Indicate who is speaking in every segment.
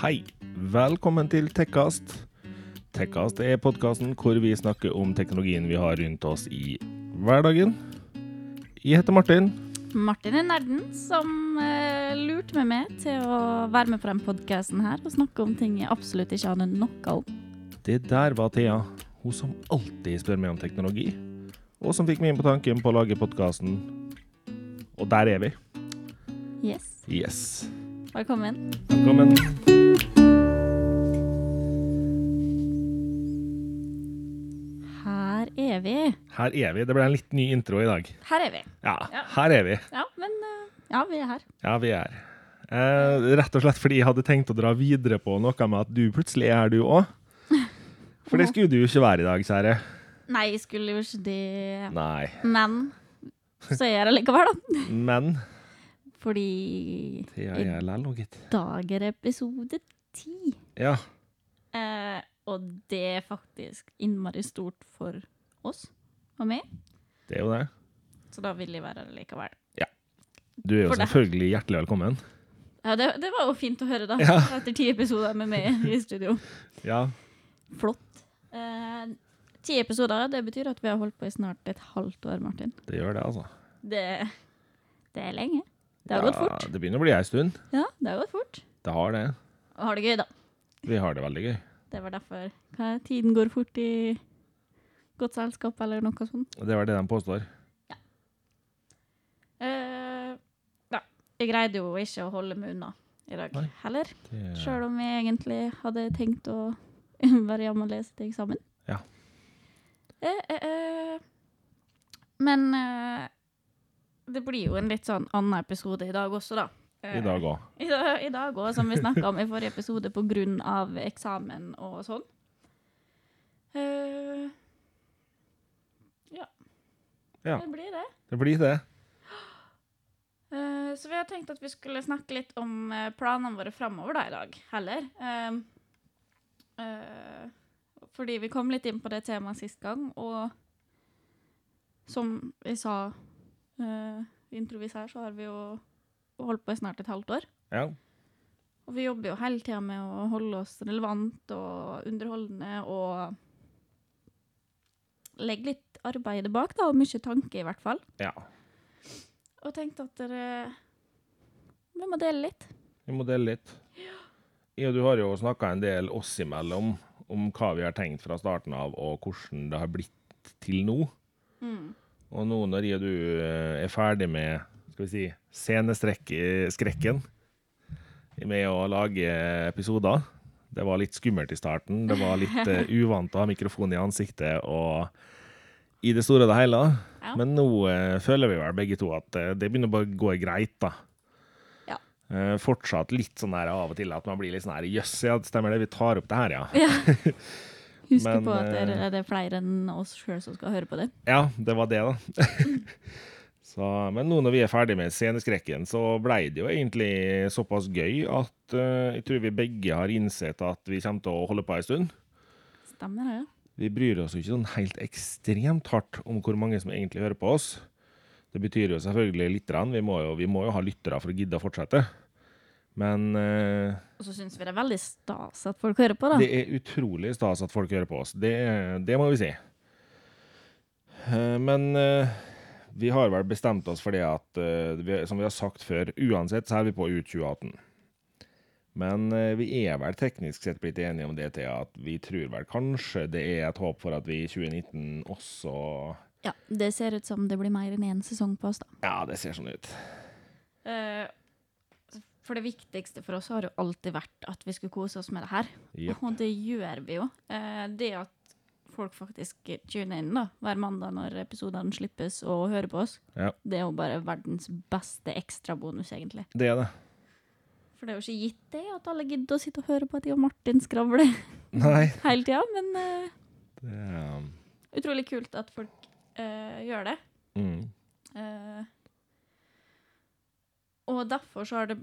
Speaker 1: Hei, velkommen til Tekkast. Tekkast er podkasten hvor vi snakker om teknologien vi har rundt oss i hverdagen. Jeg heter Martin.
Speaker 2: Martin er nerden som eh, lurte meg med til å være med på den podkasten her og snakke om ting jeg absolutt ikke aner noe om.
Speaker 1: Det der var Thea, hun som alltid spør meg om teknologi, og som fikk meg inn på tanken på å lage podkasten. Og der er vi.
Speaker 2: Yes,
Speaker 1: Yes.
Speaker 2: velkommen.
Speaker 1: Velkommen.
Speaker 2: Her er vi.
Speaker 1: Her er vi. Det ble en litt ny intro i dag.
Speaker 2: Her er vi.
Speaker 1: Ja,
Speaker 2: Ja.
Speaker 1: her er vi.
Speaker 2: Ja, men eh, ja, vi er her.
Speaker 1: Ja, vi er. Eh, rett og slett fordi jeg hadde tenkt å dra videre på noe med at du plutselig er her, du òg. For det skulle du jo ikke være i dag, kjære.
Speaker 2: Nei, jeg skulle jo ikke det.
Speaker 1: Nei.
Speaker 2: Men så er jeg her allikevel, da.
Speaker 1: Men
Speaker 2: Fordi
Speaker 1: Thea er lell, og gitt.
Speaker 2: i dag er det episode ti.
Speaker 1: Ja.
Speaker 2: Eh, og det er faktisk innmari stort for oss og meg,
Speaker 1: Det er jo det.
Speaker 2: så da vil jeg være her likevel.
Speaker 1: Du er jo
Speaker 2: For det.
Speaker 1: selvfølgelig hjertelig velkommen.
Speaker 2: Ja, det, det var jo fint å høre, da.
Speaker 1: Ja.
Speaker 2: Etter ti episoder med meg i studio.
Speaker 1: Ja.
Speaker 2: Flott. Eh, ti episoder, det betyr at vi har holdt på i snart et halvt år, Martin.
Speaker 1: Det gjør det, altså.
Speaker 2: Det, det er lenge. Det har gått
Speaker 1: Ja,
Speaker 2: fort.
Speaker 1: Det begynner å bli ei stund.
Speaker 2: Ja, det har gått fort.
Speaker 1: Det har det.
Speaker 2: Og har det gøy, da.
Speaker 1: Vi har det veldig gøy.
Speaker 2: Det var derfor. Hva, tiden går fort i godt selskap, eller noe sånt.
Speaker 1: Og Det var det de påstår.
Speaker 2: Eh, ja. Jeg greide jo ikke å holde meg unna i dag
Speaker 1: Nei.
Speaker 2: heller.
Speaker 1: Det-
Speaker 2: Sjøl om jeg egentlig hadde tenkt å være hjemme og lese til eksamen.
Speaker 1: Ja.
Speaker 2: Eh, eh, eh. Men eh, det blir jo en litt sånn annen episode i dag også, da. Eh,
Speaker 1: I dag òg.
Speaker 2: I dag- i dag òg, som vi snakka om i forrige episode på grunn av eksamen og sånn. Eh, ja.
Speaker 1: Ja.
Speaker 2: Det blir det.
Speaker 1: Det blir det.
Speaker 2: Eh, Så vi har tenkt at vi skulle snakke litt om eh, planene våre framover da i dag, heller. Ehm, eh, fordi vi kom litt inn på det temaet sist gang, og som jeg sa eh, introvis her, så har vi jo holdt på i snart et halvt år.
Speaker 1: Ja.
Speaker 2: Og vi jobber jo hele tida med å holde oss relevant og underholdende og legge litt arbeid bak, da, og mye tanke, i hvert fall
Speaker 1: ja.
Speaker 2: og tenkte at dere Vi må dele litt.
Speaker 1: Vi må dele litt. Jeg og du har jo snakka en del oss imellom om hva vi har tenkt fra starten av, og hvordan det har blitt til nå. Og nå når jeg og du eh, er ferdig med skal vi si, sceneskrekken med å lage episoder Det var litt skummelt i starten. Det var litt eh, uvant å ha mikrofon i ansiktet og i det store og det hele.
Speaker 2: Ja.
Speaker 1: Men nå eh, føler vi vel begge to at eh, det begynner bare å gå greit, da.
Speaker 2: Ja.
Speaker 1: Eh, fortsatt litt sånn her av og til at man blir litt sånn her Jøss, ja, det stemmer det, vi tar opp det her, ja.
Speaker 2: Husk
Speaker 1: Men,
Speaker 2: på at dere,
Speaker 1: eh,
Speaker 2: det er flere enn oss sjøl som skal høre på det.
Speaker 1: Ja, det var det, da. så, men nå når vi er ferdig med sceneskrekken, så blei det jo egentlig såpass gøy at eh, jeg tror vi begge har innsett at vi kommer til å holde på ei stund.
Speaker 2: Stemmer det?
Speaker 1: Vi bryr oss jo ikke sånn helt ekstremt hardt om hvor mange som egentlig hører på oss. Det betyr jo selvfølgelig litt. grann. Vi må jo, vi må jo ha lyttere for å gidde å fortsette. Men eh,
Speaker 2: Og så syns vi det er veldig stas at folk hører på, da.
Speaker 1: Det er utrolig stas at folk hører på oss. Det, det må vi si. Eh, Men eh, vi har vel bestemt oss for det at, eh, vi- som vi har sagt før, uansett så er vi på ut 2018. Men eh, vi er vel teknisk sett blitt enige om det til at vi tror vel kanskje det er et håp for at vi i 2019 også
Speaker 2: Ja, det ser ut som det blir mer enn én sesong på oss, da.
Speaker 1: Ja, det ser sånn ut.
Speaker 2: Eh, for det viktigste for oss har jo alltid vært at vi skulle kose oss med det her.
Speaker 1: Jepp.
Speaker 2: Og det gjør vi jo. Eh, det at folk faktisk tuner inn da, hver mandag når episodene slippes, og hører på oss,
Speaker 1: Ja.
Speaker 2: det er jo bare verdens beste ekstrabonus, egentlig.
Speaker 1: Det er det.
Speaker 2: For det er jo ikke gitt det at alle gidder å sitte og høre på at de og Martin skravler
Speaker 1: Nei.
Speaker 2: hele tida, men eh,
Speaker 1: Det er, um,
Speaker 2: utrolig kult at folk eh, gjør det.
Speaker 1: mm.
Speaker 2: Eh, og derfor så har det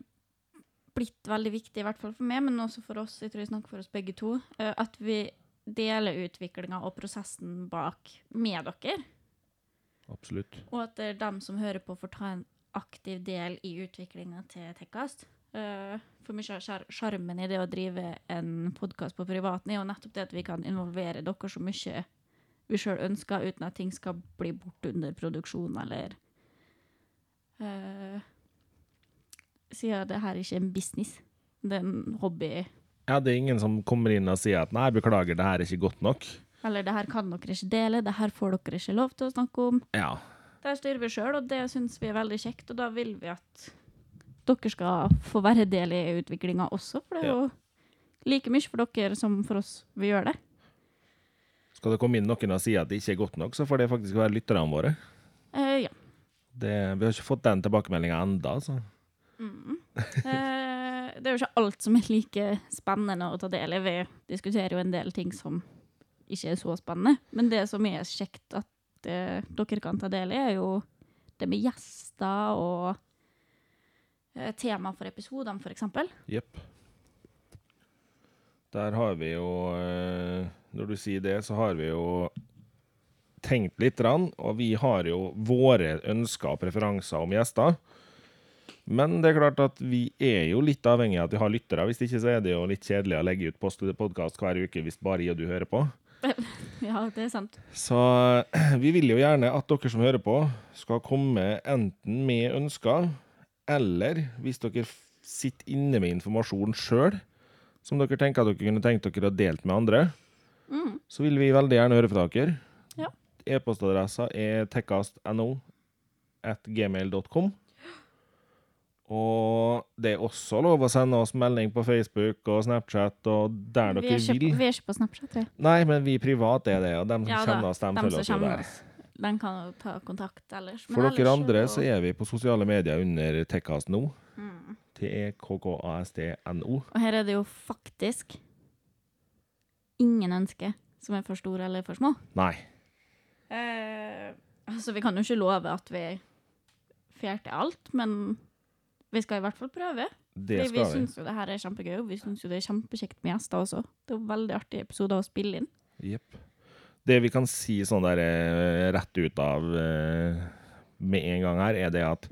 Speaker 2: blitt veldig viktig, i hvert fall for meg, men også for oss, jeg tror jeg snakker for oss begge to, eh, at vi deler utviklinga og prosessen bak med dere.
Speaker 1: Absolutt.
Speaker 2: Og at eh, dem som hører på, får ta en aktiv del i utviklinga til Tekkast. Eh, for mye av skjer- sjarmen i det å drive en podkast på privaten er jo nettopp det at vi kan involvere dere så mye vi sjøl ønsker, uten at ting skal bli borte under produksjon eller eh, Siden det her ikke er en business, det er en hobby.
Speaker 1: Ja, det er ingen som kommer inn og sier at nei, beklager, det her er ikke godt nok.
Speaker 2: Eller det her kan dere ikke dele, det her får dere ikke lov til å snakke om.
Speaker 1: Ja.
Speaker 2: Der styrer vi sjøl, og det syns vi er veldig kjekt. Og da vil vi at dere skal få være del i utviklinga også, for det er jo like mye for dere som for oss vi gjør det.
Speaker 1: Skal det komme inn noen og si at det ikke er godt nok, så får det faktisk være lytterne våre.
Speaker 2: Eh, ja.
Speaker 1: Det, vi har ikke fått den tilbakemeldinga enda, så
Speaker 2: Eh, det er jo ikke alt som er like spennende å ta del i. Vi diskuterer jo en del ting som ikke er så spennende. Men det som er kjekt at eh, dere kan ta del i, er jo det med gjester og eh, tema for episodene, for eksempel.
Speaker 1: jepp. Der har vi jo eh, Når du sier det, så har vi jo tenkt litt, grann, og vi har jo våre ønsker og preferanser om gjester. Men det er klart at vi er jo litt avhengig av at vi har lyttere. Hvis ikke så er det jo litt kjedelig å legge ut post podkast hver uke hvis bare jeg og du hører på.
Speaker 2: Ja, det er sant.
Speaker 1: Så vi vil jo gjerne at dere som hører på, skal komme enten med ønsker, eller hvis dere f- sitter inne med informasjon sjøl, som dere tenker at dere kunne tenkt dere å delt med andre, så vil vi veldig gjerne høre fra dere.
Speaker 2: Mm. Ja.
Speaker 1: E-postadressa er tekkastno at gmail.com. Og det er også lov å sende oss melding på Facebook og Snapchat og der
Speaker 2: Vi
Speaker 1: dere
Speaker 2: er, ikke,
Speaker 1: vil.
Speaker 2: vi er ikke på Snapchat, vi.
Speaker 1: Nei, men vi privat er det, og dem som
Speaker 2: Ja da,
Speaker 1: kjenner oss, dem
Speaker 2: dem
Speaker 1: følger
Speaker 2: som
Speaker 1: oss jo der.
Speaker 2: kjenner oss. Den kan jo ta kontakt ellers.
Speaker 1: For dere andre så er vi på sosiale medier under Tekkast nå.
Speaker 2: Mm.
Speaker 1: E T-e-k-k-a-s-t-n-o.
Speaker 2: Og her er det jo faktisk ingen ønsker som er for store eller for små.
Speaker 1: Nei.
Speaker 2: altså, vi kan jo ikke love at vi fjerter alt, men vi skal i hvert fall prøve.
Speaker 1: Det
Speaker 2: vi vi
Speaker 1: skal vi.
Speaker 2: syns jo det her er kjempegøy, og vi syns jo det er kjempekjekt med gjester også. Det er jo veldig artige episoder å spille inn.
Speaker 1: Jepp. Det vi kan si sånn der eh, rett ut av eh, med en gang her, er det at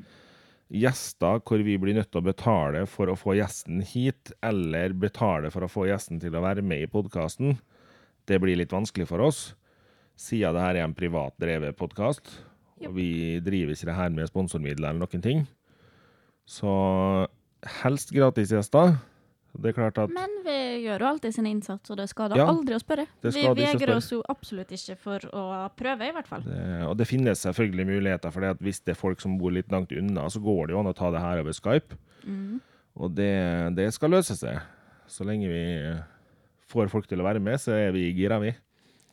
Speaker 1: gjester hvor vi blir nødt til å betale for å få gjesten hit, eller betale for å få gjesten til å være med i podkasten, det blir litt vanskelig for oss, siden det her er en privat drevet podkast, og vi driver ikke det her med sponsormidler eller noen ting. Så helst gratisgjester. Det er klart at
Speaker 2: Men vi gjør jo alltid sin innsats, og det skader
Speaker 1: Ja,
Speaker 2: aldri å spørre.
Speaker 1: det
Speaker 2: Vi
Speaker 1: skader ikke å
Speaker 2: vegrer
Speaker 1: spørre.
Speaker 2: oss jo absolutt ikke for å prøve, i hvert fall.
Speaker 1: Eh, Og det finnes selvfølgelig muligheter for det at hvis det er folk som bor litt langt unna, så går det jo an å ta det her over Skype.
Speaker 2: Mhm.
Speaker 1: Og det, det skal løse seg. Så lenge vi får folk til å være med, så er vi gira, vi.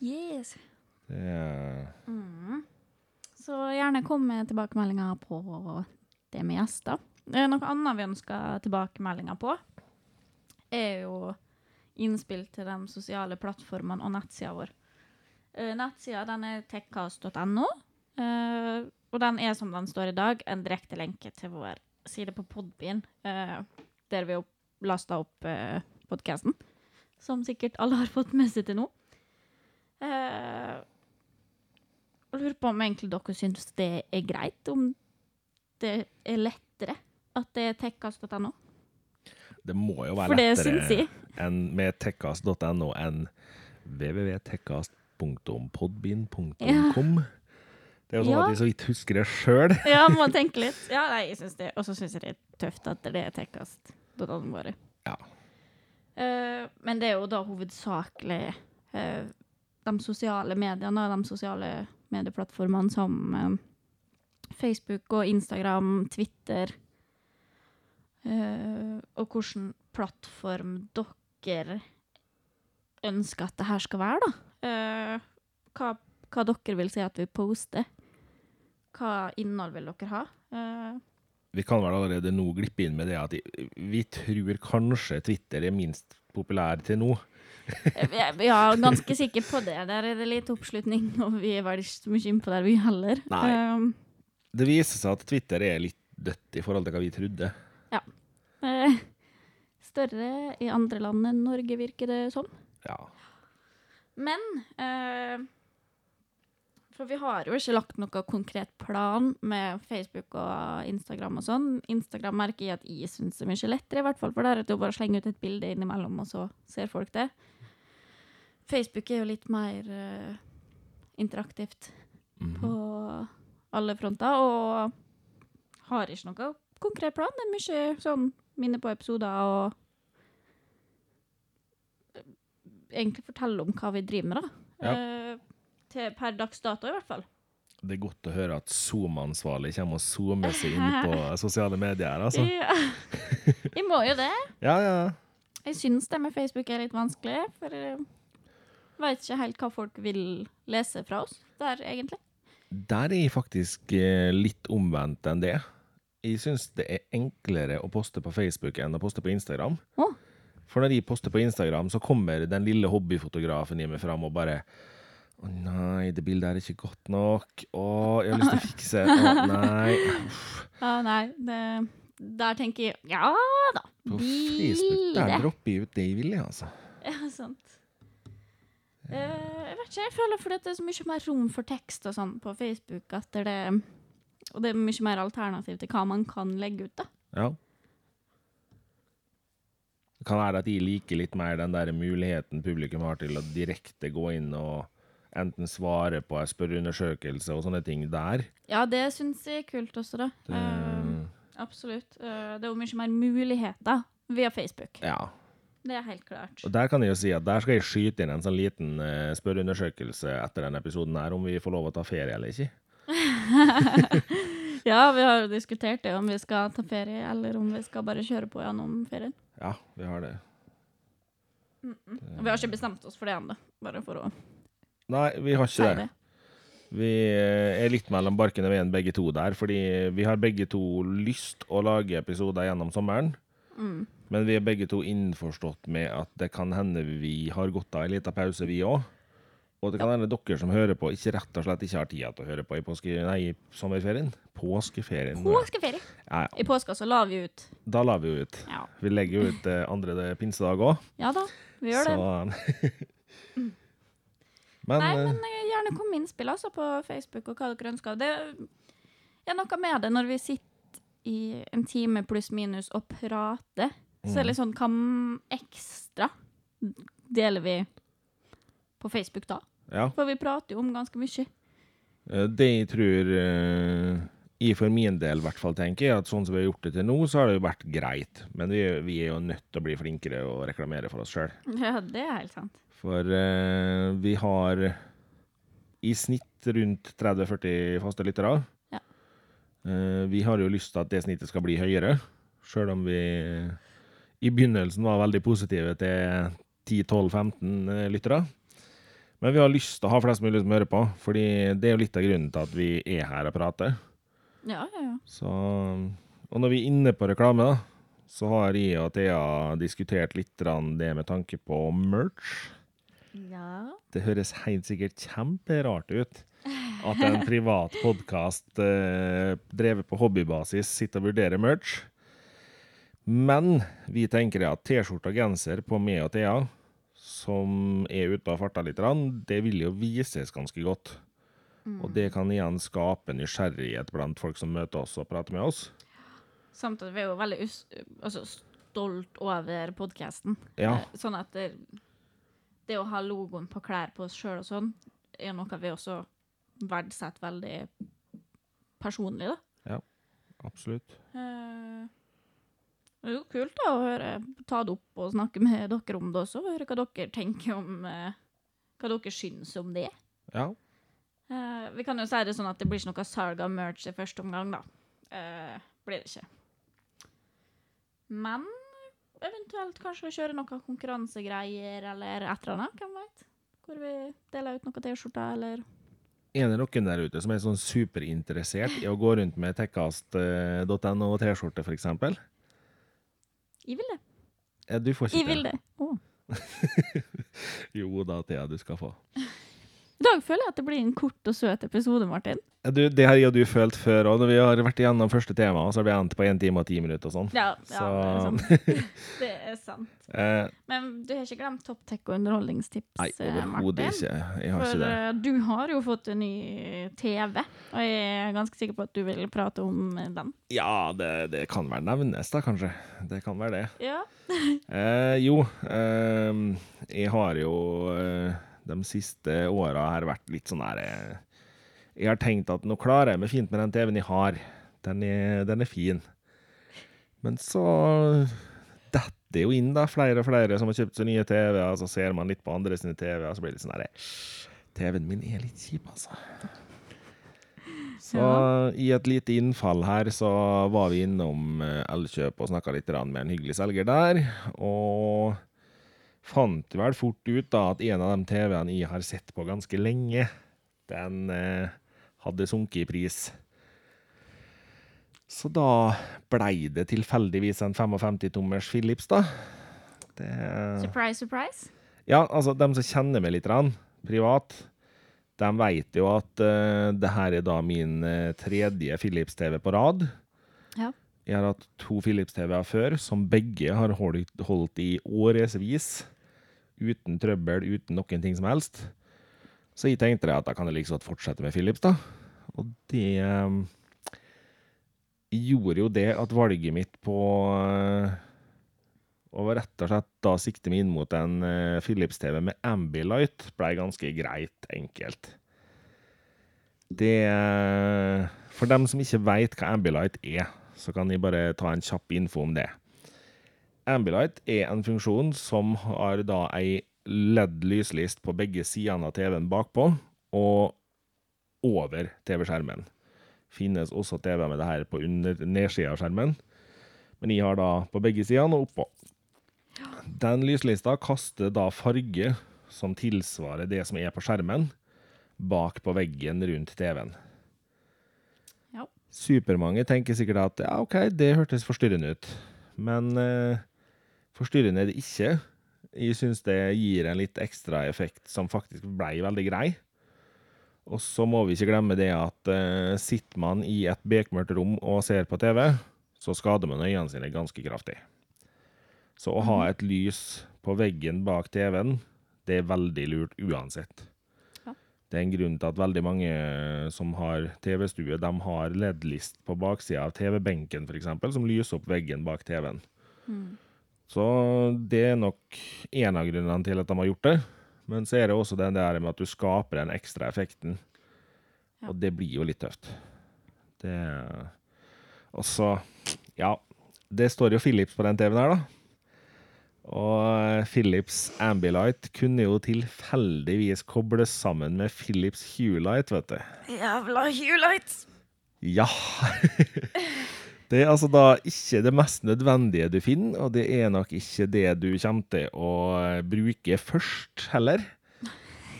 Speaker 2: Yes.
Speaker 1: Det er-
Speaker 2: Så gjerne kom med tilbakemeldinger på det med gjester. Eh, Noe annet vi ønsker tilbakemeldinger på, er jo innspill til de sosiale plattformene og nettsida vår. Eh, Nettsida den er techcast.no, eh, og den er som den står i dag, en direkte lenke til vår side på Podbean, eh, der vi opp- lasta opp eh, podkasten, som sikkert alle har fått med seg til nå. Eh, jeg lurer på om egentlig dere syns det er greit, om det er lettere at det er tekkast.no.
Speaker 1: det må jo være
Speaker 2: For det syns
Speaker 1: lettere
Speaker 2: jeg.
Speaker 1: enn med tekkast.no enn www.tekkast.podbind.com. Det er jo sånn
Speaker 2: Ja.
Speaker 1: at jeg så vidt husker det sjøl.
Speaker 2: Ja, må tenke litt. Ja, nei, jeg syns det. Og så syns jeg det er tøft at det er tekkast.no bare.
Speaker 1: Ja.
Speaker 2: Eh, men det er jo da hovedsakelig eh, de sosiale mediene og de sosiale medieplattformene som eh, Facebook og Instagram, Twitter eh, Og hvilken plattform dere ønsker at det her skal være, da. Eh, hva, hva dere vil si at vi poster. Hva innhold vil dere ha? Eh,
Speaker 1: Vi kan vel allerede nå glippe inn med det at vi tror kanskje Twitter er minst populær til nå.
Speaker 2: Jeg jeg er ganske sikker på det. Der er det litt oppslutning, og vi er vel ikke så mye innpå der, vi heller.
Speaker 1: Nei.
Speaker 2: Um,
Speaker 1: Det viser seg at Twitter er litt dødt i forhold til hva vi trodde.
Speaker 2: eh, større i andre land enn Norge, virker det som.
Speaker 1: Ja.
Speaker 2: Men eh, For vi har jo ikke lagt noe konkret plan med Facebook og Instagram og sånn. Instagram merker jeg at jeg syns er mye lettere, i hvert fall for der at du bare slenger ut et bilde innimellom, og så ser folk det. Facebook er jo litt mer eh, interaktivt på alle fronter, og har ikke noe konkret plan. Det er mye sånn minne på episoder og eh, egentlig fortelle om hva vi driver med, da.
Speaker 1: Ja.
Speaker 2: Eh, til per dags dato, i hvert fall.
Speaker 1: Det er godt å høre at Zoom-ansvarlig kommer og zoomer seg inn på sosiale medier. her, Altså.
Speaker 2: Ja. Vi må jo det.
Speaker 1: Ja, ja.
Speaker 2: Jeg syns det med Facebook er litt vanskelig, for jeg veit ikke helt hva folk vil lese fra oss der, egentlig.
Speaker 1: Der er jeg faktisk eh, litt omvendt enn det. Jeg syns det er enklere å poste på Facebook enn å poste på Instagram.
Speaker 2: Å.
Speaker 1: For når jeg poster på Instagram, så kommer den lille hobbyfotografen i meg fram og bare Å nei, det bildet er ikke godt nok. Å, jeg har lyst til å fikse. Å nei.
Speaker 2: Ja, nei, det, der tenker jeg ja da.
Speaker 1: På Facebook, der dropper jeg ut det jeg vil, jeg, altså.
Speaker 2: Ja, sant. Eh, jeg vet ikke, jeg føler fordi at det er så mye mer rom for tekst og sånn på Facebook at det er Og det er mye mer alternativ til hva man kan legge ut, da.
Speaker 1: Ja. Det kan være at de liker litt mer den der muligheten publikum har til å direkte gå inn og enten svare på en spørreundersøkelse og sånne ting der.
Speaker 2: Ja, det syns jeg er kult også, da.
Speaker 1: Det,
Speaker 2: Eh, absolutt. Eh, det er jo mye mer muligheter via Facebook.
Speaker 1: ja.
Speaker 2: Det er helt klart.
Speaker 1: Og der kan jeg jo si at der skal jeg skyte inn en sånn liten eh, spørreundersøkelse etter denne episoden her, om vi får lov å ta ferie eller ikke.
Speaker 2: Ja, vi har jo diskutert det, om vi skal ta ferie, eller om vi skal bare kjøre på gjennom ferien.
Speaker 1: Ja, vi har det.
Speaker 2: Vi har ikke bestemt oss for det ennå, bare for å
Speaker 1: Nei, vi har
Speaker 2: si
Speaker 1: ikke det.
Speaker 2: det.
Speaker 1: Vi eh, er litt mellom barken og veden begge to der, fordi vi har begge to lyst å lage episoder gjennom sommeren.
Speaker 2: Mm.
Speaker 1: Men vi er begge to innforstått med at det kan hende vi har godt av en liten pause, vi òg. Og det kan hende dere som hører på, ikke rett og slett ikke har tid til å høre på i påske, nei, i sommerferien. Påskeferien.
Speaker 2: Påskeferie!
Speaker 1: Ja,
Speaker 2: I påska så la vi ut.
Speaker 1: da la vi jo ut.
Speaker 2: Ja,
Speaker 1: Vi legger jo ut eh, andre pinsedag òg.
Speaker 2: ja da, vi gjør det. Mm.
Speaker 1: men,
Speaker 2: Nei,
Speaker 1: eh,
Speaker 2: men eh, gjerne kom med innspill altså, på Facebook og hva dere ønsker. Det er noe med det når vi sitter i en time pluss minus og prater, så er
Speaker 1: Mm.
Speaker 2: det litt sånn hva ekstra deler vi på Facebook da?
Speaker 1: ja.
Speaker 2: For vi prater jo om ganske mye.
Speaker 1: Eh, Det jeg tror eh, jeg for min del i hvert fall tenker, er at sånn som vi har gjort det til nå, så har det jo vært greit. Men vi, vi er jo nødt til å bli flinkere og reklamere for oss sjøl.
Speaker 2: Ja, det er helt sant.
Speaker 1: For eh, vi har i snitt rundt 30-40 faste lyttere.
Speaker 2: Ja.
Speaker 1: Eh, vi har jo lyst til at det snittet skal bli høyere, sjøl om vi i begynnelsen var veldig positive til 10-12-15 eh, lyttere. Men vi har lyst til å ha flest mulig som hører på, fordi det er jo litt av grunnen til at vi er her og prater.
Speaker 2: Ja, ja, ja.
Speaker 1: Så, og når vi er inne på reklame, da, så har jeg og Thea diskutert litt grann det med tanke på merch.
Speaker 2: Ja.
Speaker 1: Det høres helt sikkert kjemperart ut at en privat podkast eh, drevet på hobbybasis sitter og vurderer merch. Men vi tenker at T-skjorte og genser på meg og Thea, som er ute og farta litt, grann, det vil jo vises ganske godt. Og det kan igjen skape nysgjerrighet blant folk som møter oss og prater med oss.
Speaker 2: Samt at vi er jo veldig us altså, stolt over podkasten.
Speaker 1: Ja.
Speaker 2: Sånn at det, det å ha logoen på klær på oss sjøl og sånn, er noe vi også verdsetter veldig personlig, da.
Speaker 1: Ja, absolutt.
Speaker 2: Eh, Det er jo kult da å høre, ta det opp og snakke med dere om det også, og høre hva dere tenker om eh, Hva dere syns om det.
Speaker 1: Ja.
Speaker 2: Eh, vi kan jo si det sånn at det blir ikke noe salg av merch i første omgang, da. Eh, blir det ikke. Men eventuelt kanskje vi kjører noe konkurransegreier eller et eller annet, hvem veit? Hvor vi deler ut noe T-skjorter eller
Speaker 1: Er det noen der ute som er sånn superinteressert i å gå rundt med eh, tekkast.no og T-skjorte, for eksempel?
Speaker 2: Jeg vil det.
Speaker 1: Ja, Du får
Speaker 2: Jeg
Speaker 1: ikke
Speaker 2: vil det. Å.
Speaker 1: Jo da, Thea, du skal få.
Speaker 2: I dag føler jeg at det blir en kort og søt episode, Martin.
Speaker 1: Du, det har jeg og du følt før òg, når vi har vært igjennom første tema, så har vi endt på 1 time og 10 minutter og sånn.
Speaker 2: Ja, ja det, er
Speaker 1: Så-
Speaker 2: sant. det er sant.
Speaker 1: Eh,
Speaker 2: Men du har ikke glemt topp tech og underholdningstips,
Speaker 1: nei,
Speaker 2: eh,
Speaker 1: overhodet ikke. Jeg har
Speaker 2: For
Speaker 1: ikke det.
Speaker 2: eh, du har jo fått en ny TV, og jeg er ganske sikker på at du vil prate om eh, den.
Speaker 1: Ja, det, det kan vel nevnes, da, kanskje. Det kan være det.
Speaker 2: Ja.
Speaker 1: Eh, jo, ehm, jeg har jo eh, de siste åra her vært litt sånn her eh, Jeg har tenkt at nå klarer jeg meg fint med den TV-en jeg har. Den er, den er fin. Men så detter det jo inn da flere og flere som har kjøpt seg nye TV-er, så ser man litt på andre sine TV-er, så blir det litt sånn her eh, TV-en min er litt kjip, altså. Så i et lite innfall her så var vi innom eh, Elkjøp og snakka litt grann med en hyggelig selger der. Og fant vel fort ut da at en av de TV-ene jeg har sett på ganske lenge, den eh, hadde sunket i pris. Så da blei det tilfeldigvis en 55-tommers Philips, da. Det, eh,
Speaker 2: Surprise, surprise.
Speaker 1: ja, altså, de som kjenner meg litt rann, privat, de vet jo at eh, det her er da min eh, tredje Philips-TV på rad.
Speaker 2: Ja.
Speaker 1: Jeg har hatt to Philips-TV-er før, som begge har holdt, holdt i årevis. Uten trøbbel, uten noen ting som helst. Så jeg tenkte at da kan jeg like så godt fortsette med Philips, da. Og det eh, gjorde jo det at valget mitt på eh, og rett og slett da sikte meg inn mot en eh, Philips-TV med Ambilight blei ganske greit enkelt. Det eh, For dem som ikke veit hva Ambilight er, så kan jeg bare ta en kjapp info om det. Ambilight er en funksjon som har da ei LED-lyslist på begge sidene av TV-en bakpå og over TV-skjermen. Finnes også TV med det her på under, nedsida av skjermen, men jeg har da på begge sidene og oppå. Den lyslista kaster da farge som tilsvarer det som er på skjermen, bak på veggen rundt TV-en.
Speaker 2: Ja.
Speaker 1: Supermange tenker sikkert at ja, OK, det hørtes forstyrrende ut. Men eh, forstyrrende er det ikke. Jeg syns det gir en litt ekstra effekt som faktisk blei veldig grei. Og så må vi ikke glemme det at eh, sitter man i et bekmørkt rom og ser på TV, så skader man øynene sine ganske kraftig. Så å ha et lys på veggen bak TV-en, det er veldig lurt uansett.
Speaker 2: Ja.
Speaker 1: Det er en grunn til at veldig mange eh, som har TV-stue, de har LED-list på baksida av TV-benken f.eks., som lyser opp veggen bak TV-en. Så det er nok en av grunnene til at de har gjort det. Men så er det også den der med at du skaper den ekstra effekten.
Speaker 2: Ja.
Speaker 1: Og det blir jo litt tøft. Det eh, Og så Ja, det står jo Philips på den TV-en her, da. Og Philips Ambilight kunne jo tilfeldigvis kobles sammen med Philips Hulight, vet du.
Speaker 2: Jævla Hulights!
Speaker 1: Ja! Det er altså da ikke det mest nødvendige du finner, og det er nok ikke det du kommer til å bruke først heller.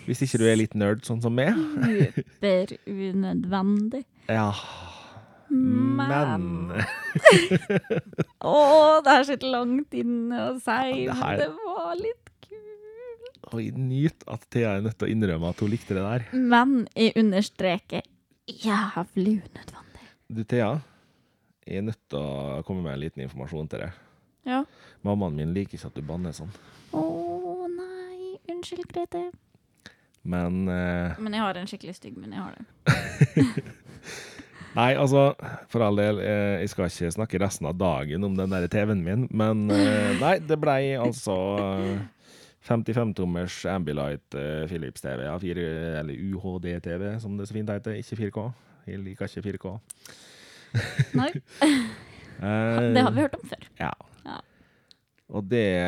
Speaker 1: Hvis ikke du er litt nerd, sånn som meg.
Speaker 2: Super unødvendig.
Speaker 1: Ja, men
Speaker 2: Å, det er sitt langt inne å si,
Speaker 1: Ja, det
Speaker 2: men
Speaker 1: her-
Speaker 2: det var litt kult.
Speaker 1: Oi, nyt at Thea er nødt til å innrømme at hun likte det der.
Speaker 2: Men jeg understreker jævlig unødvendig.
Speaker 1: Du, Thea, jeg er nødt til å komme med en liten informasjon til deg.
Speaker 2: Ja.
Speaker 1: Mammaen min liker ikke at du banner sånn,
Speaker 2: Å nei, unnskyld, Grete.
Speaker 1: men eh,
Speaker 2: Men jeg har en skikkelig stygg munn. Jeg har det.
Speaker 1: Nei, altså, for all del, eh, jeg skal ikke snakke resten av dagen om den der TV-en min, men eh, nei, det blei altså eh, 55-tommers Ambilight eh, Philips TV, ja, 4, eller UHD-TV, som det så fint heter, ikke 4K. Jeg liker ikke 4K.
Speaker 2: Nei,
Speaker 1: Eh,
Speaker 2: det har vi hørt om før.
Speaker 1: Ja.
Speaker 2: Ja.
Speaker 1: Og det,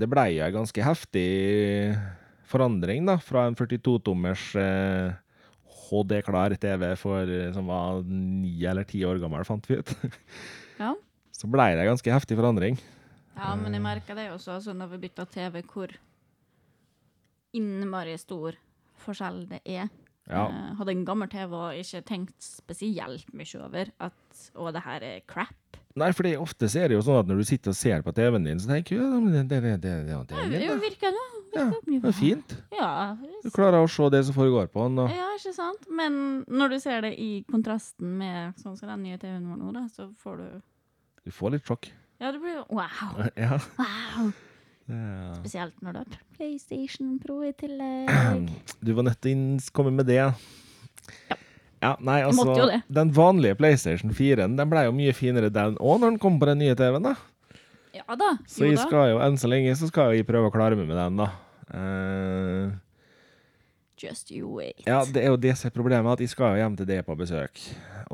Speaker 1: det blei jo en ganske heftig forandring, da, fra en 42-tommers eh, HD-klar TV for, eh, som var ni eller ti år gammel, fant vi ut.
Speaker 2: Ja.
Speaker 1: Så blei det en ganske heftig forandring.
Speaker 2: Ja, men
Speaker 1: Eh.
Speaker 2: jeg merka det også altså, når vi bytta TV, hvor innmari stor forskjell det er.
Speaker 1: Ja.
Speaker 2: Eh, hadde en gammel TV og ikke tenkt spesielt mye over at å, det her er crap.
Speaker 1: Nei, for ofte så er det jo sånn at når du sitter og ser på TV-en din, så tenker du ja, men det, det, det, det, det, det er
Speaker 2: Det
Speaker 1: min, da.
Speaker 2: virker det.
Speaker 1: Ja,
Speaker 2: Det er mye
Speaker 1: det er fint.
Speaker 2: Ja,
Speaker 1: Du klarer å se det som foregår på den. Og
Speaker 2: ja, ikke sant? Men når du ser det i kontrasten med sånn som den nye TV-en vår nå, da, så får du
Speaker 1: du får litt sjokk.
Speaker 2: Ja, det blir jo wow!
Speaker 1: Ja.
Speaker 2: wow.
Speaker 1: Ja.
Speaker 2: Spesielt når du har PlayStation Pro i tillegg.
Speaker 1: Du var nødt til å komme med det. Ja, nei,
Speaker 2: Jeg
Speaker 1: altså,
Speaker 2: måtte jo det.
Speaker 1: Den vanlige PlayStation 4-en den ble jo mye finere den òg når den kom på den nye TV-en. da.
Speaker 2: Ja da.
Speaker 1: Så
Speaker 2: jo
Speaker 1: jeg
Speaker 2: da.
Speaker 1: skal jo, enn så lenge så skal jeg prøve å klare meg med den. da. Eh,
Speaker 2: Just you wait.
Speaker 1: ja, Det er jo det som er problemet, at jeg skal jo hjem til deg på besøk.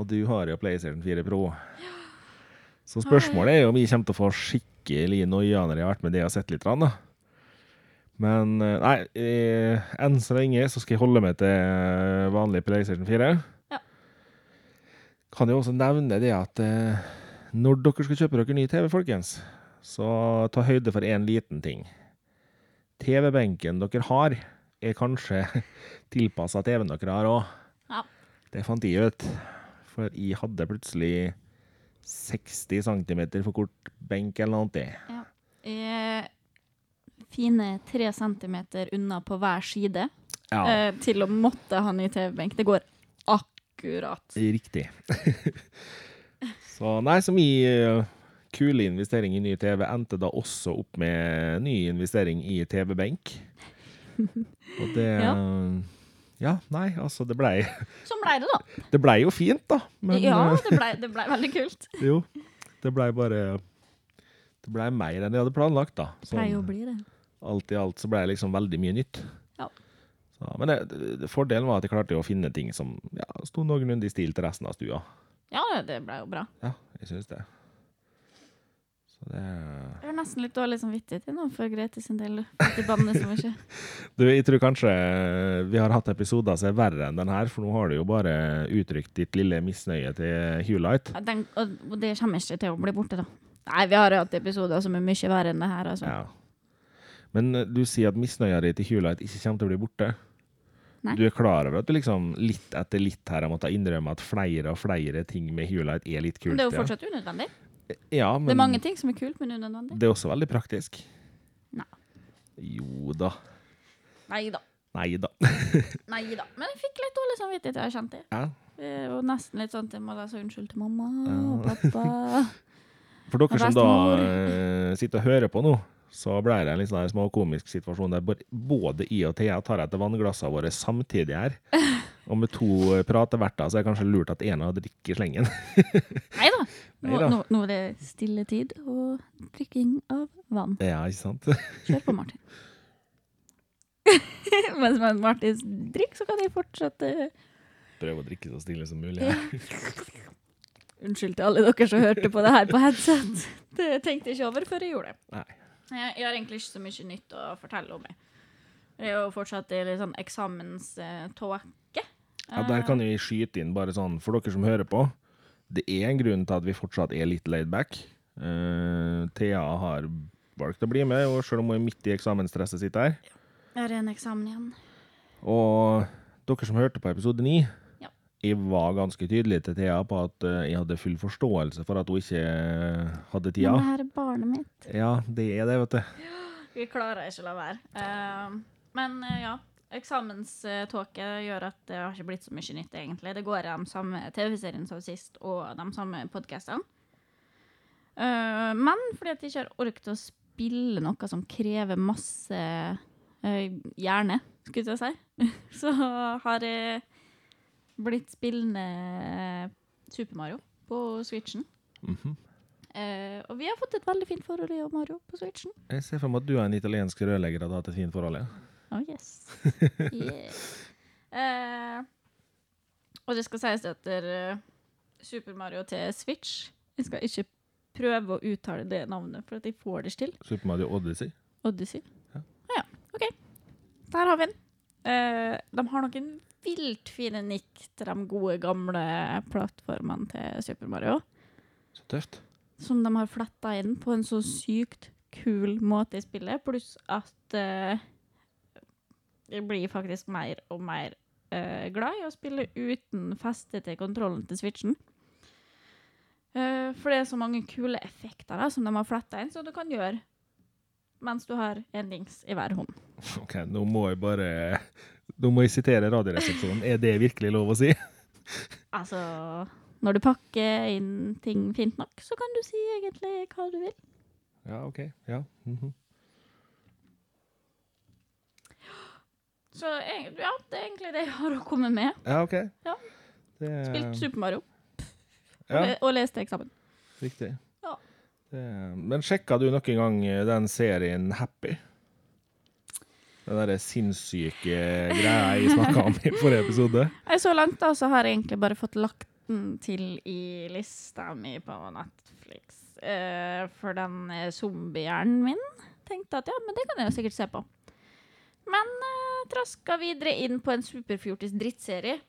Speaker 1: Og du har jo PlayStation 4 Pro. Så spørsmålet er jo om jeg kommer til å få skikkelig noia når jeg har vært med deg og sett litt. grann, da. Men eh, nei, eh, enn så lenge så skal jeg holde meg til eh, vanlig PlayStation 4.
Speaker 2: Ja.
Speaker 1: Kan jo også nevne det at eh, når dere skal kjøpe dere ny TV, folkens, så ta høyde for én liten ting. TV-benken dere har, er kanskje tilpassa TV-en dere har òg.
Speaker 2: Ja.
Speaker 1: Det fant jeg ut. For jeg hadde plutselig 60 cm for kort benk eller noe.
Speaker 2: Eh, fine tre centimeter unna på hver side
Speaker 1: Ja,
Speaker 2: eh, til å måtte ha ny TV-benk. Det går akkurat.
Speaker 1: riktig. så nei, som i eh, kule investering i ny TV endte da også opp med ny investering i TV-benk. Og det ja. nei, altså det blei
Speaker 2: Sånn blei det, da.
Speaker 1: Det blei jo fint, da. Men
Speaker 2: ja,
Speaker 1: eh,
Speaker 2: det blei det ble veldig kult.
Speaker 1: jo, det blei bare Det blei mer enn jeg hadde planlagt, da. Sånn.
Speaker 2: Pleier å bli det.
Speaker 1: alt i alt så ble det liksom veldig mye nytt.
Speaker 2: Ja.
Speaker 1: Så, men det, det, fordelen var at jeg klarte jo å finne ting som ja, sto noenlunde i stil til resten av stua.
Speaker 2: Ja, det blei jo bra.
Speaker 1: Ja, jeg syns det. Så det
Speaker 2: Jeg har nesten litt dårlig samvittighet til nå for Grete sin del. for De banner så mye.
Speaker 1: Du, jeg tror kanskje vi har hatt episoder som er verre enn den her, for nå har du jo bare uttrykt ditt lille misnøye til Hulight.
Speaker 2: Ja, Den, og og det kommer ikke til å bli borte, da. Nei, vi har jo hatt episoder som er mye verre enn det her, altså.
Speaker 1: Ja. Men eh, du sier at misnøya di til Hulight ikke kommer til å bli borte.
Speaker 2: Nei.
Speaker 1: Du er klar over at du liksom litt etter litt her har måttet innrømme at flere og flere ting med Hulight er litt kult?
Speaker 2: Men det er jo
Speaker 1: ja.
Speaker 2: fortsatt unødvendig.
Speaker 1: Ja, men
Speaker 2: Det er mange ting som er kult, men unødvendig.
Speaker 1: Det er også veldig praktisk.
Speaker 2: Nei.
Speaker 1: Jo da.
Speaker 2: Nei da.
Speaker 1: Nei da.
Speaker 2: Nei da. Men jeg fikk litt dårlig samvittighet, jeg har kjent det.
Speaker 1: Ja.
Speaker 2: Eh, Og nesten litt sånn at jeg må da si unnskyld til mamma og pappa.
Speaker 1: For dere som da
Speaker 2: Bestemor.
Speaker 1: eh, sitter og hører på nå, så ble det en litt sånn her småkomisk situasjon der bor- både I og Thea tar etter vannglassene våre samtidig her. Og med to eh, prateverter så er det kanskje lurt at en av drikker i slengen.
Speaker 2: Nei da. Nå,
Speaker 1: Neida.
Speaker 2: nå, nå er det stille tid og drikking av vann.
Speaker 1: Ja, ikke sant?
Speaker 2: Kjør på, Martin. Mens man- Martin drikker, så kan jeg fortsette.
Speaker 1: Prøv å drikke så stille som mulig. her.
Speaker 2: Unnskyld til alle dere som hørte på det her på headset. Det tenkte jeg ikke over før jeg gjorde det.
Speaker 1: Nei.
Speaker 2: Jeg, jeg har egentlig ikke så mye nytt å fortelle om. jeg. Det er jo fortsatt i litt sånn eksamenståke.
Speaker 1: Ja, der kan vi skyte inn bare sånn, for dere som hører på. Det er en grunn til at vi fortsatt er litt laid back. Eh, Thea har valgt å bli med, og selv om hun er midt i eksamensstresset sitt her.
Speaker 2: Jeg har en eksamen igjen.
Speaker 1: Og dere som hørte på episode 9,
Speaker 2: Ja.
Speaker 1: jeg var ganske tydelig til Thea på at eh, jeg hadde full forståelse for at hun ikke hadde tida.
Speaker 2: Men det her er barnet mitt.
Speaker 1: Ja, det er det, vet du.
Speaker 2: Vi klarer ikke å la være. Ehm, men eh, ja, eksamenståke gjør at det har ikke blitt så mye nytt, egentlig. Det går i de samme TV-seriene som sist, og de samme podkastene. men fordi at jeg ikke har orket å spille noe som krever masse eh, hjerne, skulle jeg si, så har jeg blitt spillende Super Mario på Switchen.
Speaker 1: Mhm.
Speaker 2: Eh, og vi har fått et veldig fint forhold, jeg og Mario, på Switchen.
Speaker 1: Jeg ser for meg at du er en italiensk rørlegger og hadde hatt et fint forhold. Ja.
Speaker 2: Oh yes. Yeah. Eh, og det skal sies at eh, Super Mario til Switch Jeg skal ikke prøve å uttale det navnet, for at jeg får det ikke til.
Speaker 1: Super Mario Odyssey.
Speaker 2: Odyssey.
Speaker 1: Ja.
Speaker 2: Ah, ja. OK. Der har vi den. Eh, de har noen vilt fine nikk til de gode, gamle plattformene til Super Mario.
Speaker 1: Så tøft.
Speaker 2: Som de har fletta inn på en så sykt kul måte i spillet, pluss at eh, jeg blir faktisk mer og mer eh, glad i å spille uten feste til kontrollen til switchen. Eh, for det er så mange kule effekter da, som de har fletta inn, som du kan gjøre mens du har en dings i hver hånd.
Speaker 1: OK, nå må jeg bare Nå må jeg sitere Radioresepsjonen. Er det virkelig lov å si?
Speaker 2: Altså, når du pakker inn ting fint nok, så kan du si egentlig hva du vil.
Speaker 1: Ja, OK. Ja. mhm.
Speaker 2: Så eg- ja, det er egentlig det jeg har å komme med.
Speaker 1: Ja, OK.
Speaker 2: Ja.
Speaker 1: Det er-
Speaker 2: Spilt Super Mario og,
Speaker 1: Ja,
Speaker 2: le og leste eksamen.
Speaker 1: riktig.
Speaker 2: Ja.
Speaker 1: Det er- Men sjekka du nok en gang eh, den serien Happy? Den derre sinnssyke eh, greia jeg snakka om i forrige episode?
Speaker 2: Nei, Så langt da, så har jeg egentlig bare fått lagt den til i lista mi på Netflix. Eh, for den eh, zombiehjernen min tenkte at ja, men det kan jeg jo sikkert se på. Men uh, traska videre inn på en superfjortis drittserie.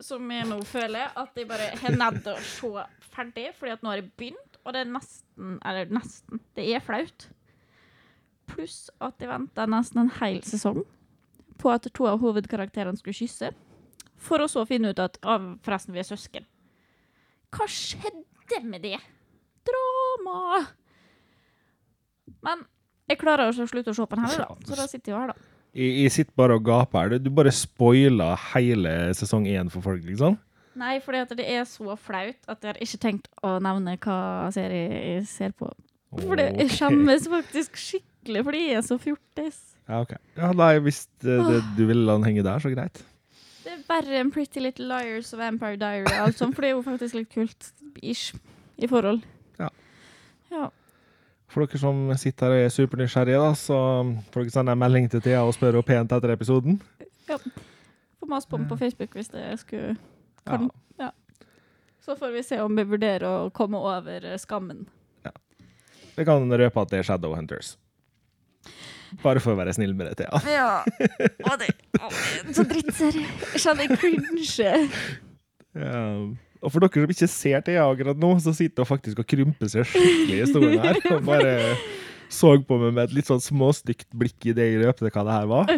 Speaker 2: Som jeg nå føler at jeg bare har nedd å se ferdig, fordi at nå har jeg begynt. Og det er nesten Eller nesten. Det er flaut. Pluss at jeg venta nesten en hel sesong på at to av hovedkarakterene skulle kysse. For å så finne ut at «Å, forresten, vi er søsken. Hva skjedde med det? Drama! Men jeg klarer ikke å slutte å se på den heller, da. Så da sitter jeg jo her, da.
Speaker 1: Jeg, jeg sitter bare og gaper her. Du- Du bare spoiler hele sesong én for folk, liksom.
Speaker 2: Nei, fordi at det er så flaut at jeg har ikke tenkt å nevne hva serie jeg ser på. For det jeg
Speaker 1: Ok.
Speaker 2: skjemmes faktisk skikkelig fordi jeg er så fjortis.
Speaker 1: Ja, ok. Ja, nei, hvis det, eh, det, du vil la den henge der, så greit.
Speaker 2: Det er verre enn Pretty Little Liars og Vampire Diary og alt sånt, for det er jo faktisk litt kult ish i forhold.
Speaker 1: Ja.
Speaker 2: Ja.
Speaker 1: For dere som sitter her og er supernysgjerrige, da, så får dere sende en melding til Thea og spørre henne pent etter episoden.
Speaker 2: Få mas på den på Facebook hvis det skulle
Speaker 1: Ja.
Speaker 2: Kan- Så får vi se om vi vurderer å komme over eh, skammen.
Speaker 1: Vi kan røpe at det er Shadowhunters. Bare for å være snill med deg, Thea.
Speaker 2: Ja. Å, det, så drittserie. Jeg kjenner jeg cringe.
Speaker 1: Ja. Eh, Og for dere som ikke ser Thea akkurat nå, så sitter hun faktisk og krymper seg skikkelig i stolen her. Og bare så på meg med et litt sånn småstygt blikk i det jeg røpte hva det her var.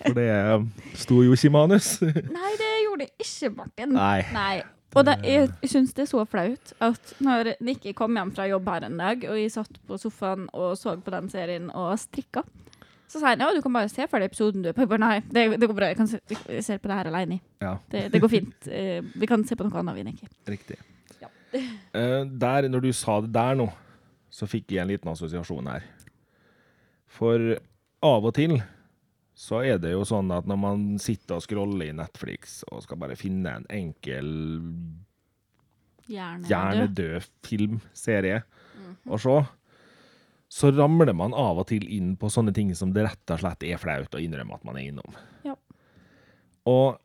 Speaker 1: For det eh, sto jo ikke i manus.
Speaker 2: Nei, det gjorde jeg ikke, Martin.
Speaker 1: Nei.
Speaker 2: Nei. Og det, jeg, jeg syns det er så flaut at når Nikki kom hjem fra jobb her en dag, og jeg satt på sofaen og så på den serien og strikka, så sa han ja, du kan bare se ferdig episoden du er på. Jeg bare, Nei, det, det går bra. Jeg kan se, jeg ser på det her alene. jeg.
Speaker 1: Ja.
Speaker 2: Det, det går fint. Eh, Vi kan se på noe annet, vi, Nikki.
Speaker 1: Riktig.
Speaker 2: Ja.
Speaker 1: Eh, der, når du sa det der nå, så fikk jeg en liten assosiasjon her. For av og til så er det jo sånn at når man sitter og scroller i Netflix og skal bare finne en enkel,
Speaker 2: Gjerne.
Speaker 1: gjerne død filmserie å se, så ramler man av og til inn på sånne ting som det rett og slett er flaut å innrømme at man er innom.
Speaker 2: Ja.
Speaker 1: Og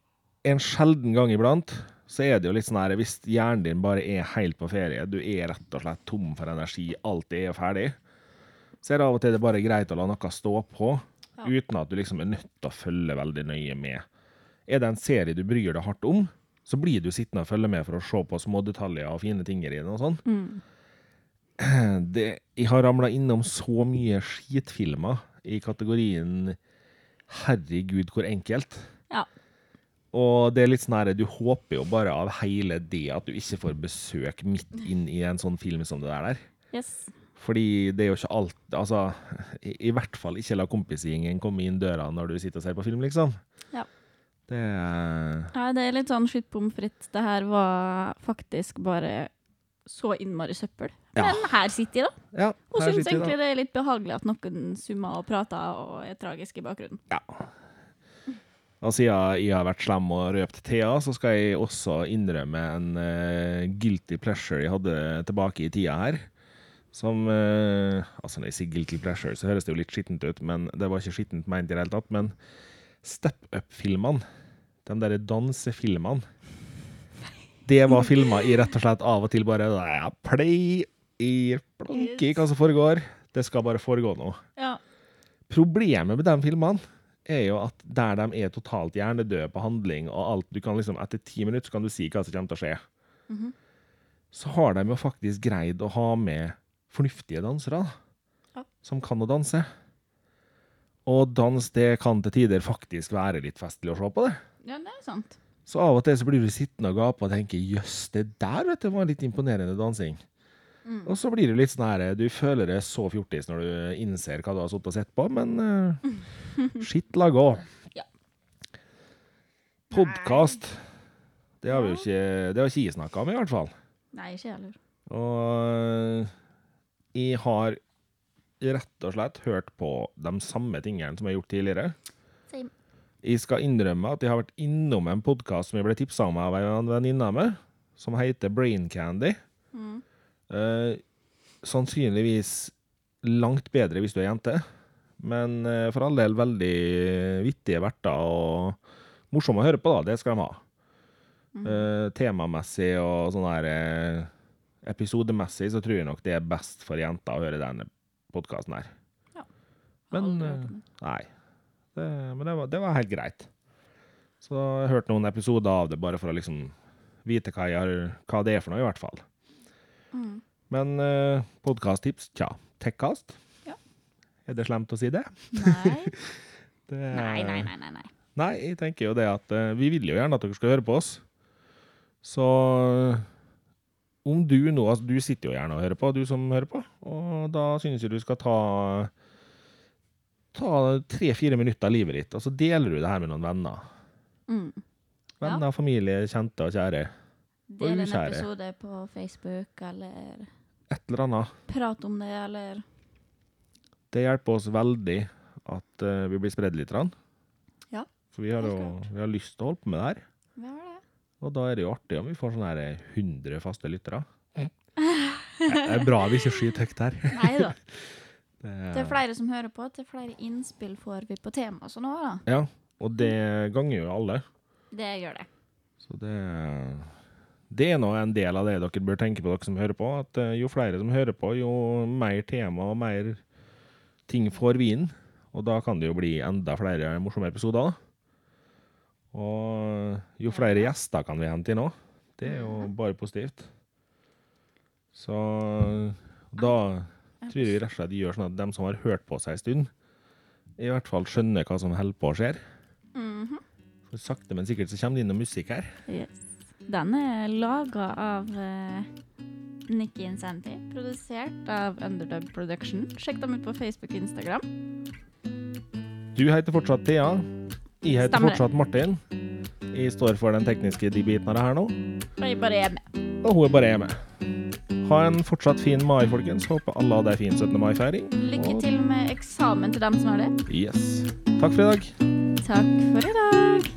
Speaker 1: en sjelden gang iblant så er det jo litt sånn her Hvis hjernen din bare er helt på ferie, du er rett og slett tom for energi, alt er ferdig, så er det av og til det bare greit å la noe stå på,
Speaker 2: Ja.
Speaker 1: uten at du liksom er nødt til å følge veldig nøye med. Er det en serie du bryr deg hardt om, så blir du sittende og følge med for å se på smådetaljer og fine ting i den og sånn.
Speaker 2: Mm.
Speaker 1: Det, jeg har ramla innom så mye skitfilmer i kategorien 'herregud, hvor enkelt'.
Speaker 2: Ja.
Speaker 1: Og det er litt sånn her, du håper jo bare av hele det at du ikke får besøk midt inn i en sånn film som det der der.
Speaker 2: Yes.
Speaker 1: Fordi det er jo ikke alt, altså, i, i hvert fall ikke la kompisgjengen komme inn døra når du sitter og ser på film, liksom.
Speaker 2: Ja.
Speaker 1: Det er,
Speaker 2: Nei, det er litt sånn skytt bom fritt. Det her var faktisk bare så innmari søppel.
Speaker 1: Ja.
Speaker 2: Men her sitter jeg, da.
Speaker 1: ja,
Speaker 2: Og
Speaker 1: her
Speaker 2: syns
Speaker 1: sitter vi da.
Speaker 2: egentlig det er litt behagelig at noen summer og prater og er tragisk i bakgrunnen.
Speaker 1: Og siden jeg har vært slem og røpt Thea, så skal jeg også innrømme en eh, guilty pleasure jeg hadde tilbake i tida her. Som eh, Altså, når jeg sier guilty pleasure, så høres det jo litt skittent ut, men det var ikke skittent ment i det hele tatt. Men Step Up-filmene, de derre dansefilmene Det var filmer i rett og slett av og til bare ja, Play i blanke i hva som foregår. Det skal bare foregå nå.
Speaker 2: Ja.
Speaker 1: Problemet med de filmene er jo at der de er totalt hjernedøde på handling og alt du kan liksom, Etter ti minutter så kan du si hva som kommer til å skje. Så har de jo faktisk greid å ha med fornuftige dansere da,
Speaker 2: Ja.
Speaker 1: som kan å danse. Og dans det kan til tider faktisk være litt festlig å se på. det.
Speaker 2: ja, det er sant.
Speaker 1: Så av og til så blir du sittende og gape og tenke jøss, det der vet du, var litt imponerende dansing.
Speaker 2: Mm.
Speaker 1: Og så blir det litt sånn her, du føler deg så fjortis når du innser hva du har sittet og sett på, men eh, Skitt laga.
Speaker 2: Ja.
Speaker 1: Podkast. Det har vi jo
Speaker 2: Ja.
Speaker 1: ikke, det har ikke jeg snakka om, i hvert fall.
Speaker 2: Nei, ikke jeg heller.
Speaker 1: Og øh, jeg har rett og slett hørt på de samme tingene som jeg har gjort tidligere.
Speaker 2: Same.
Speaker 1: Jeg skal innrømme at jeg har vært innom en podkast som jeg ble tipsa om av en venninne av meg, som heter Brain Candy.
Speaker 2: Mm.
Speaker 1: Eh, sannsynligvis langt bedre hvis du er jente, men eh, for all del veldig vittige verter og morsomme å høre på, da. Det skal de ha.
Speaker 2: Mm.
Speaker 1: Eh, temamessig og sånn her eh, episodemessig så tror jeg nok det er best for jenter å høre denne podkasten her. Men, eh,
Speaker 2: Aldri hørt om det.
Speaker 1: Nei. Det, men det var, det var helt greit. Så jeg hørte noen episoder av det, bare for å liksom vite hva, jeg har, hva det er for noe, i hvert fall.
Speaker 2: Mm.
Speaker 1: Men eh, podkasttips, tja. Tekkast?
Speaker 2: Ja.
Speaker 1: Er det slemt å si det?
Speaker 2: Nei.
Speaker 1: det
Speaker 2: nei, nei, nei, nei, nei.
Speaker 1: Nei, jeg tenker jo det at eh, vi vil jo gjerne at dere skal høre på oss. Så eh, om du nå altså Du sitter jo gjerne og hører på, du som hører på. Og da synes jeg du skal ta Ta tre-fire minutter av livet ditt, og så deler du det her med noen venner.
Speaker 2: Mm.
Speaker 1: Venner, familie, kjente og kjære.
Speaker 2: Del en
Speaker 1: ukjære.
Speaker 2: episode på Facebook, eller
Speaker 1: Et eller annet.
Speaker 2: prat om det, eller
Speaker 1: Det hjelper oss veldig at eh, vi blir spredd litt. grann.
Speaker 2: Ja,
Speaker 1: For vi har
Speaker 2: helt
Speaker 1: jo vi har lyst til å holde på med det her.
Speaker 2: Hva var det?
Speaker 1: Og da er det jo artig om vi får sånne her 100 faste lyttere. Det er bra vi ikke skyter høyt her. Eh,
Speaker 2: Nei da.
Speaker 1: Det
Speaker 2: Til flere som hører på, til flere innspill får vi på tema og sånn òg, da.
Speaker 1: Ja, og det ganger jo alle.
Speaker 2: Det gjør det.
Speaker 1: Så det det er nå en del av det dere bør tenke på, dere som hører på. At eh, jo flere som hører på, jo mer tema og mer ting får vi inn. Og da kan det jo bli enda flere morsomme episoder. Og jo flere gjester kan vi hente inn òg. Det er jo bare positivt. Så da tror jeg vi rett og slett gjør sånn at dem som har hørt på seg en stund, i hvert fall skjønner hva som holder på å skje.
Speaker 2: Mhm.
Speaker 1: For sakte, men sikkert så kommer det inn noe musikk her.
Speaker 2: Yes. Den er laga av eh, Nikki Insanity, produsert av Underdub Production. Sjekk dem ut på Facebook og Instagram.
Speaker 1: Du heter fortsatt Thea. Jeg heter
Speaker 2: Stemmer det.
Speaker 1: fortsatt Martin. Jeg står for den tekniske de biten av det her nå,
Speaker 2: Og jeg bare er med.
Speaker 1: og hun er bare hjemme. Ha en fortsatt fin mai, folkens. Håper alle hadde ei fin 17. mai-feiring.
Speaker 2: Lykke
Speaker 1: Og-
Speaker 2: til med eksamen til dem som har det.
Speaker 1: Yes. Takk for i dag.
Speaker 2: Takk for i dag.